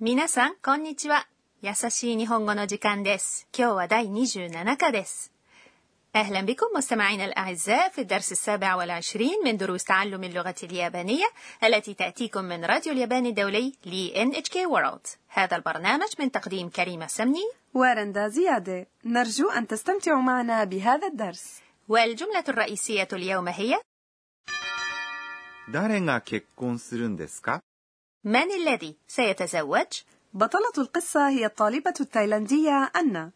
皆さん、こんにちは。優しい日本語の時間です。今日は第27課です。أهلا بكم مستمعينا الأعزاء في الدرس السابع والعشرين من دروس تعلم اللغة اليابانية التي تأتيكم من راديو اليابان الدولي ل NHK World هذا البرنامج من تقديم كريمة سمني ورندا زيادة نرجو أن تستمتعوا معنا بهذا الدرس والجملة الرئيسية اليوم هي 誰が結婚するんですか من الذي سيتزوج؟ بطلة القصة هي الطالبة التايلاندية أنا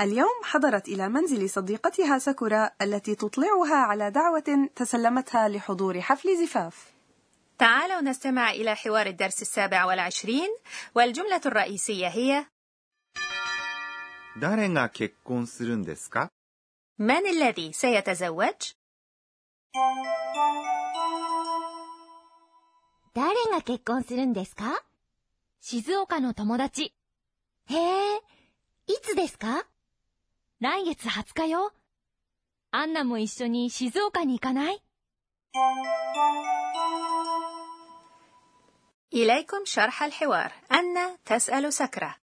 اليوم حضرت إلى منزل صديقتها ساكورا التي تطلعها على دعوة تسلمتها لحضور حفل زفاف تعالوا نستمع إلى حوار الدرس السابع والعشرين والجملة الرئيسية هي 誰が結婚するんですか من الذي سيتزوج؟ 誰が結婚するんですか静岡の友達。へえ、いつですか来月20日よ。アンナも一緒に静岡に行かない إليكم شرح الحوار أن تسأل سكرة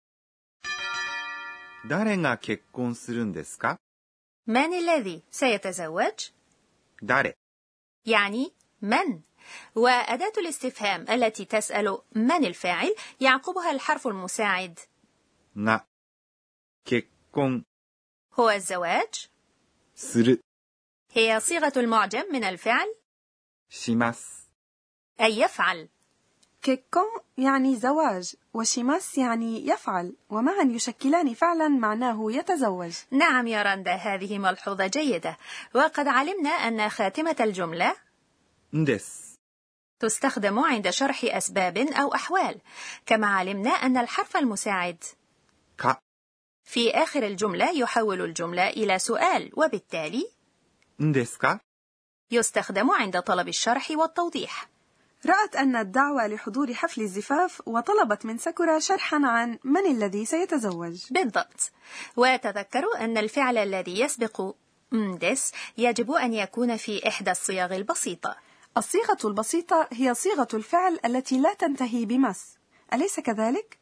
誰が結婚するんですか من الذي سيتزوج؟ 誰 يعني من وأداة الاستفهام التي تسأل من الفاعل يعقبها الحرف المساعد が結婚 هو الزواج する هي صيغة المعجم من الفعل します أي يفعل كيكون يعني زواج وشيماس يعني يفعل ومعا يشكلان فعلا معناه يتزوج نعم يا رندا هذه ملحوظة جيدة وقد علمنا أن خاتمة الجملة んです تستخدم عند شرح أسباب أو أحوال كما علمنا أن الحرف المساعد か في آخر الجملة يحول الجملة إلى سؤال وبالتالي んですか يستخدم عند طلب الشرح والتوضيح رأت أن الدعوة لحضور حفل الزفاف وطلبت من ساكورا شرحا عن من الذي سيتزوج بالضبط وتذكروا أن الفعل الذي يسبق مدس يجب أن يكون في إحدى الصيغ البسيطة الصيغة البسيطة هي صيغة الفعل التي لا تنتهي بمس أليس كذلك؟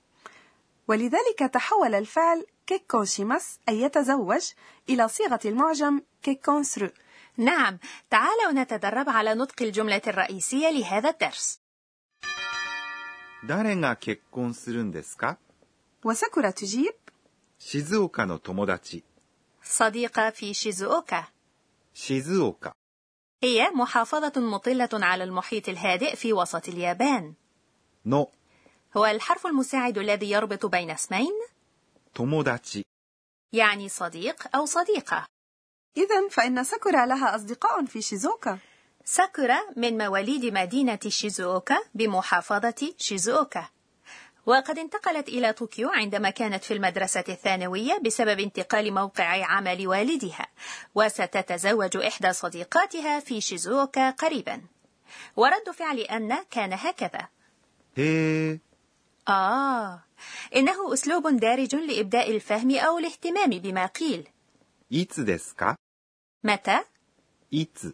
ولذلك تحول الفعل كيكونشيماس أي يتزوج إلى صيغة المعجم كيكونسرو نعم تعالوا نتدرب على نطق الجملة الرئيسية لهذا الدرس 誰が結婚するんですか وساكورا تجيب 静岡の友達 صديقة في شيزوكا 静岡 هي محافظة مطلة على المحيط الهادئ في وسط اليابان の هو الحرف المساعد الذي يربط بين اسمين 友達 يعني صديق أو صديقة إذا فإن ساكورا لها أصدقاء في شيزوكا ساكورا من مواليد مدينة شيزوكا بمحافظة شيزوكا وقد انتقلت إلى طوكيو عندما كانت في المدرسة الثانوية بسبب انتقال موقع عمل والدها وستتزوج إحدى صديقاتها في شيزوكا قريبا ورد فعل أن كان هكذا へえ آه إنه أسلوب دارج لإبداء الفهم أو الاهتمام بما قيل いつですか متى いつ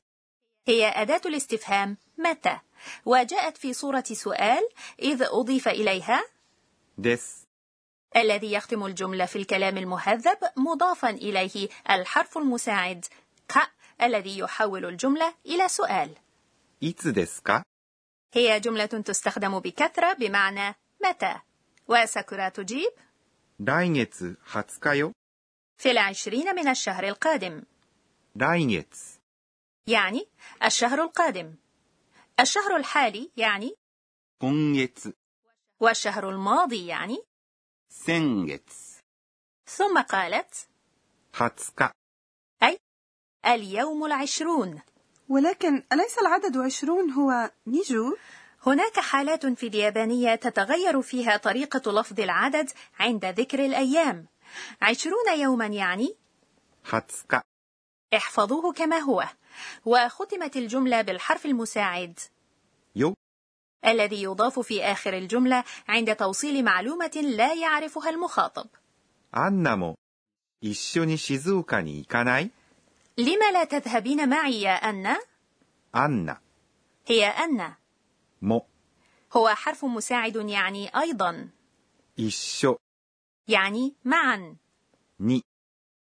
هي أداة الاستفهام متى وجاءت في صورة سؤال إذ أضيف إليها です الذي يختم الجملة في الكلام المهذب مضافا إليه الحرف المساعد ك الذي يحول الجملة إلى سؤال いつですか هي جملة تستخدم بكثرة بمعنى متى وساكورا تجيب 来月20日よ في العشرين من الشهر القادم 来月 يعني الشهر القادم الشهر الحالي يعني 今月 والشهر الماضي يعني 先月 ثم قالت 20日 أي اليوم العشرون ولكن أليس العدد عشرون هو نيجو؟ هناك حالات في اليابانية تتغير فيها طريقة لفظ العدد عند ذكر الأيام عشرون يوما يعني 20日 احفظوه كما هو وختمت الجملة بالحرف المساعد よ الذي يضاف في آخر الجملة عند توصيل معلومة لا يعرفها المخاطب アンナも一緒に静岡に行かない لما لا تذهبين معي يا أن アンナ هي أن も هو حرف مساعد يعني أيضا 一緒 يعني معا に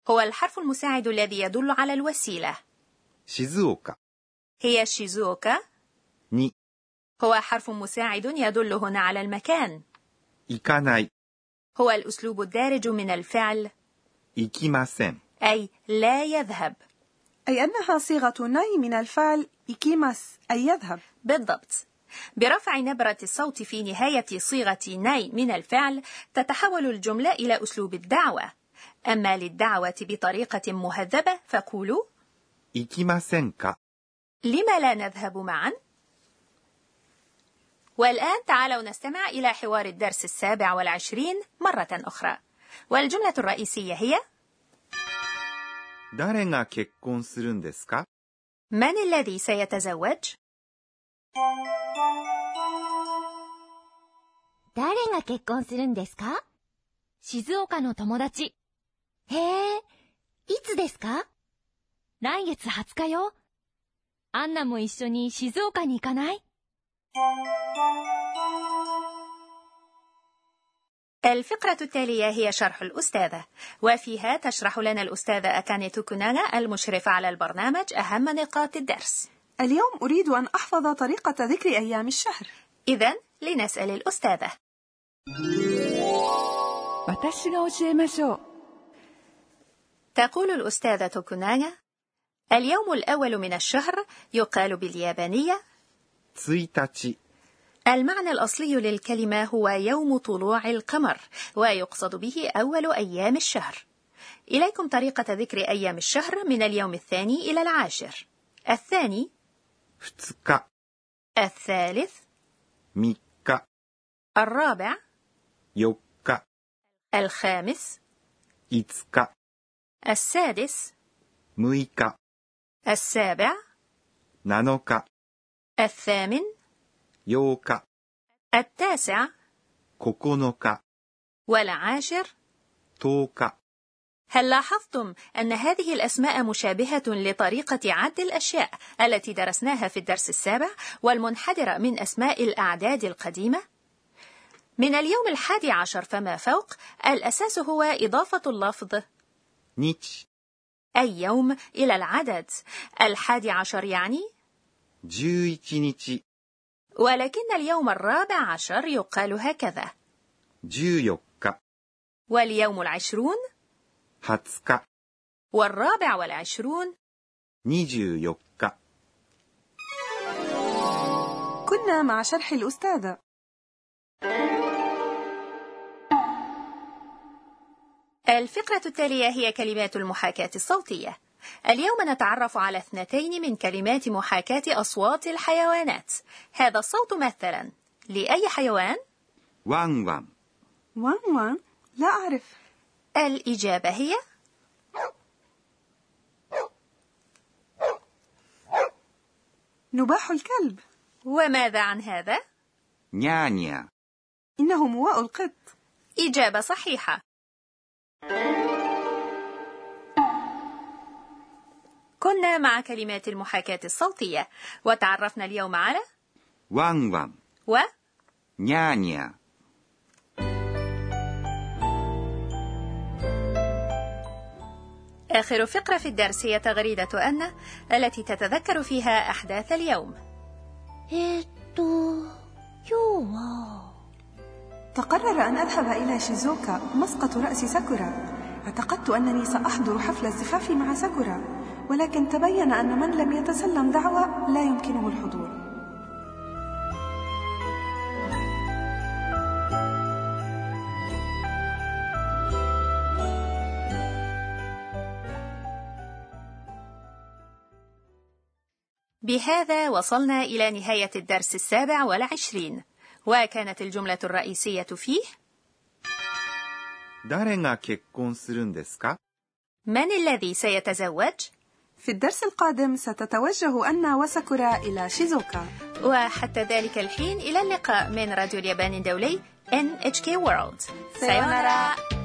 هو الحرف المساعد الذي يدل على الوسيلة 静岡 هي شيزوكا に هو حرف مساعد يدل هنا على المكان 行かない هو الأسلوب الدارج من الفعل 行きません أي لا يذهب أي أنها صيغة ناي من الفعل إيكيماس أي يذهب بالضبط برفع نبرة الصوت في نهاية صيغة ناي من الفعل تتحول الجملة إلى أسلوب الدعوة أما للدعوة بطريقة مهذبة فقولوا 行きませんか لما لا نذهب معا؟ والآن تعالوا نستمع إلى حوار الدرس السابع والعشرين مرة أخرى والجملة الرئيسية هي 誰が結婚するんですか من الذي سيتزوج؟ 誰が結婚するんですか静岡の友達。へえ、いつですか来月20日よ。アンナも一緒に静岡に行かない الفقرة التالية هي شرح الأستاذة وفيها تشرح لنا الأستاذة أكاني توكوناغا المشرفة على البرنامج أهم نقاط الدرس اليوم أريد أن أحفظ طريقة ذكر أيام الشهر إذا لنسأل الأستاذة 私が教えましょう تقول الأستاذة توكوناغا اليوم الأول من الشهر يقال باليابانية 1日 المعنى الأصلي للكلمة هو يوم طلوع القمر ويقصد به أول أيام الشهر إليكم طريقة ذكر أيام الشهر من اليوم الثاني إلى العاشر الثاني 2日 الثالث 3日 الرابع 4日 الخامس 5日 السادس 6日 السابع 7日 الثامن 8日 التاسع 9日 والعاشر 10日 هل لاحظتم أن هذه الأسماء مشابهة لطريقة عد الأشياء التي درسناها في الدرس السابع والمنحدرة من أسماء الأعداد القديمة؟ من اليوم الحادي عشر فما فوق الأساس هو إضافة اللفظ 日 أي يوم إلى العدد الحادي عشر يعني 11日 ولكن اليوم الرابع عشر يقال هكذا 14日 واليوم العشرون 20日 والرابع والعشرون 24日 كنا مع شرح الأستاذة الفقرة التالية هي كلمات المحاكاة الصوتية. اليوم نتعرف على اثنتين من كلمات محاكاة أصوات الحيوانات. هذا الصوت مثلا لأي حيوان؟ ワンワン وان وان لا أعرف الإجابة هي نباح الكلب وماذا عن هذا؟ にゃーにゃー إنه مواء القط إجابة صحيحة. كنا مع كلمات المحاكاة الصوتية وتعرفنا اليوم على ワンワン و にゃーにゃー آخر فقرة في الدرس هي تغريدة أن التي تتذكر فيها أحداث اليوم えっと、今日は、 تقرر أن أذهب إلى شيزوكا مسقط رأس ساكورا اعتقدت أنني سأحضر حفل الزفاف مع ساكورا ولكن تبين أن من لم يتسلم دعوة لا يمكنه الحضور بهذا وصلنا إلى نهاية الدرس السابع والعشرين وكانت الجملة الرئيسية فيه 誰が結婚するんですか من الذي سيتزوج في الدرس القادم ستتوجه أنا وساكورا إلى شيزوكا وحتى ذلك الحين إلى اللقاء من راديو اليابان الدولي NHK World さようなら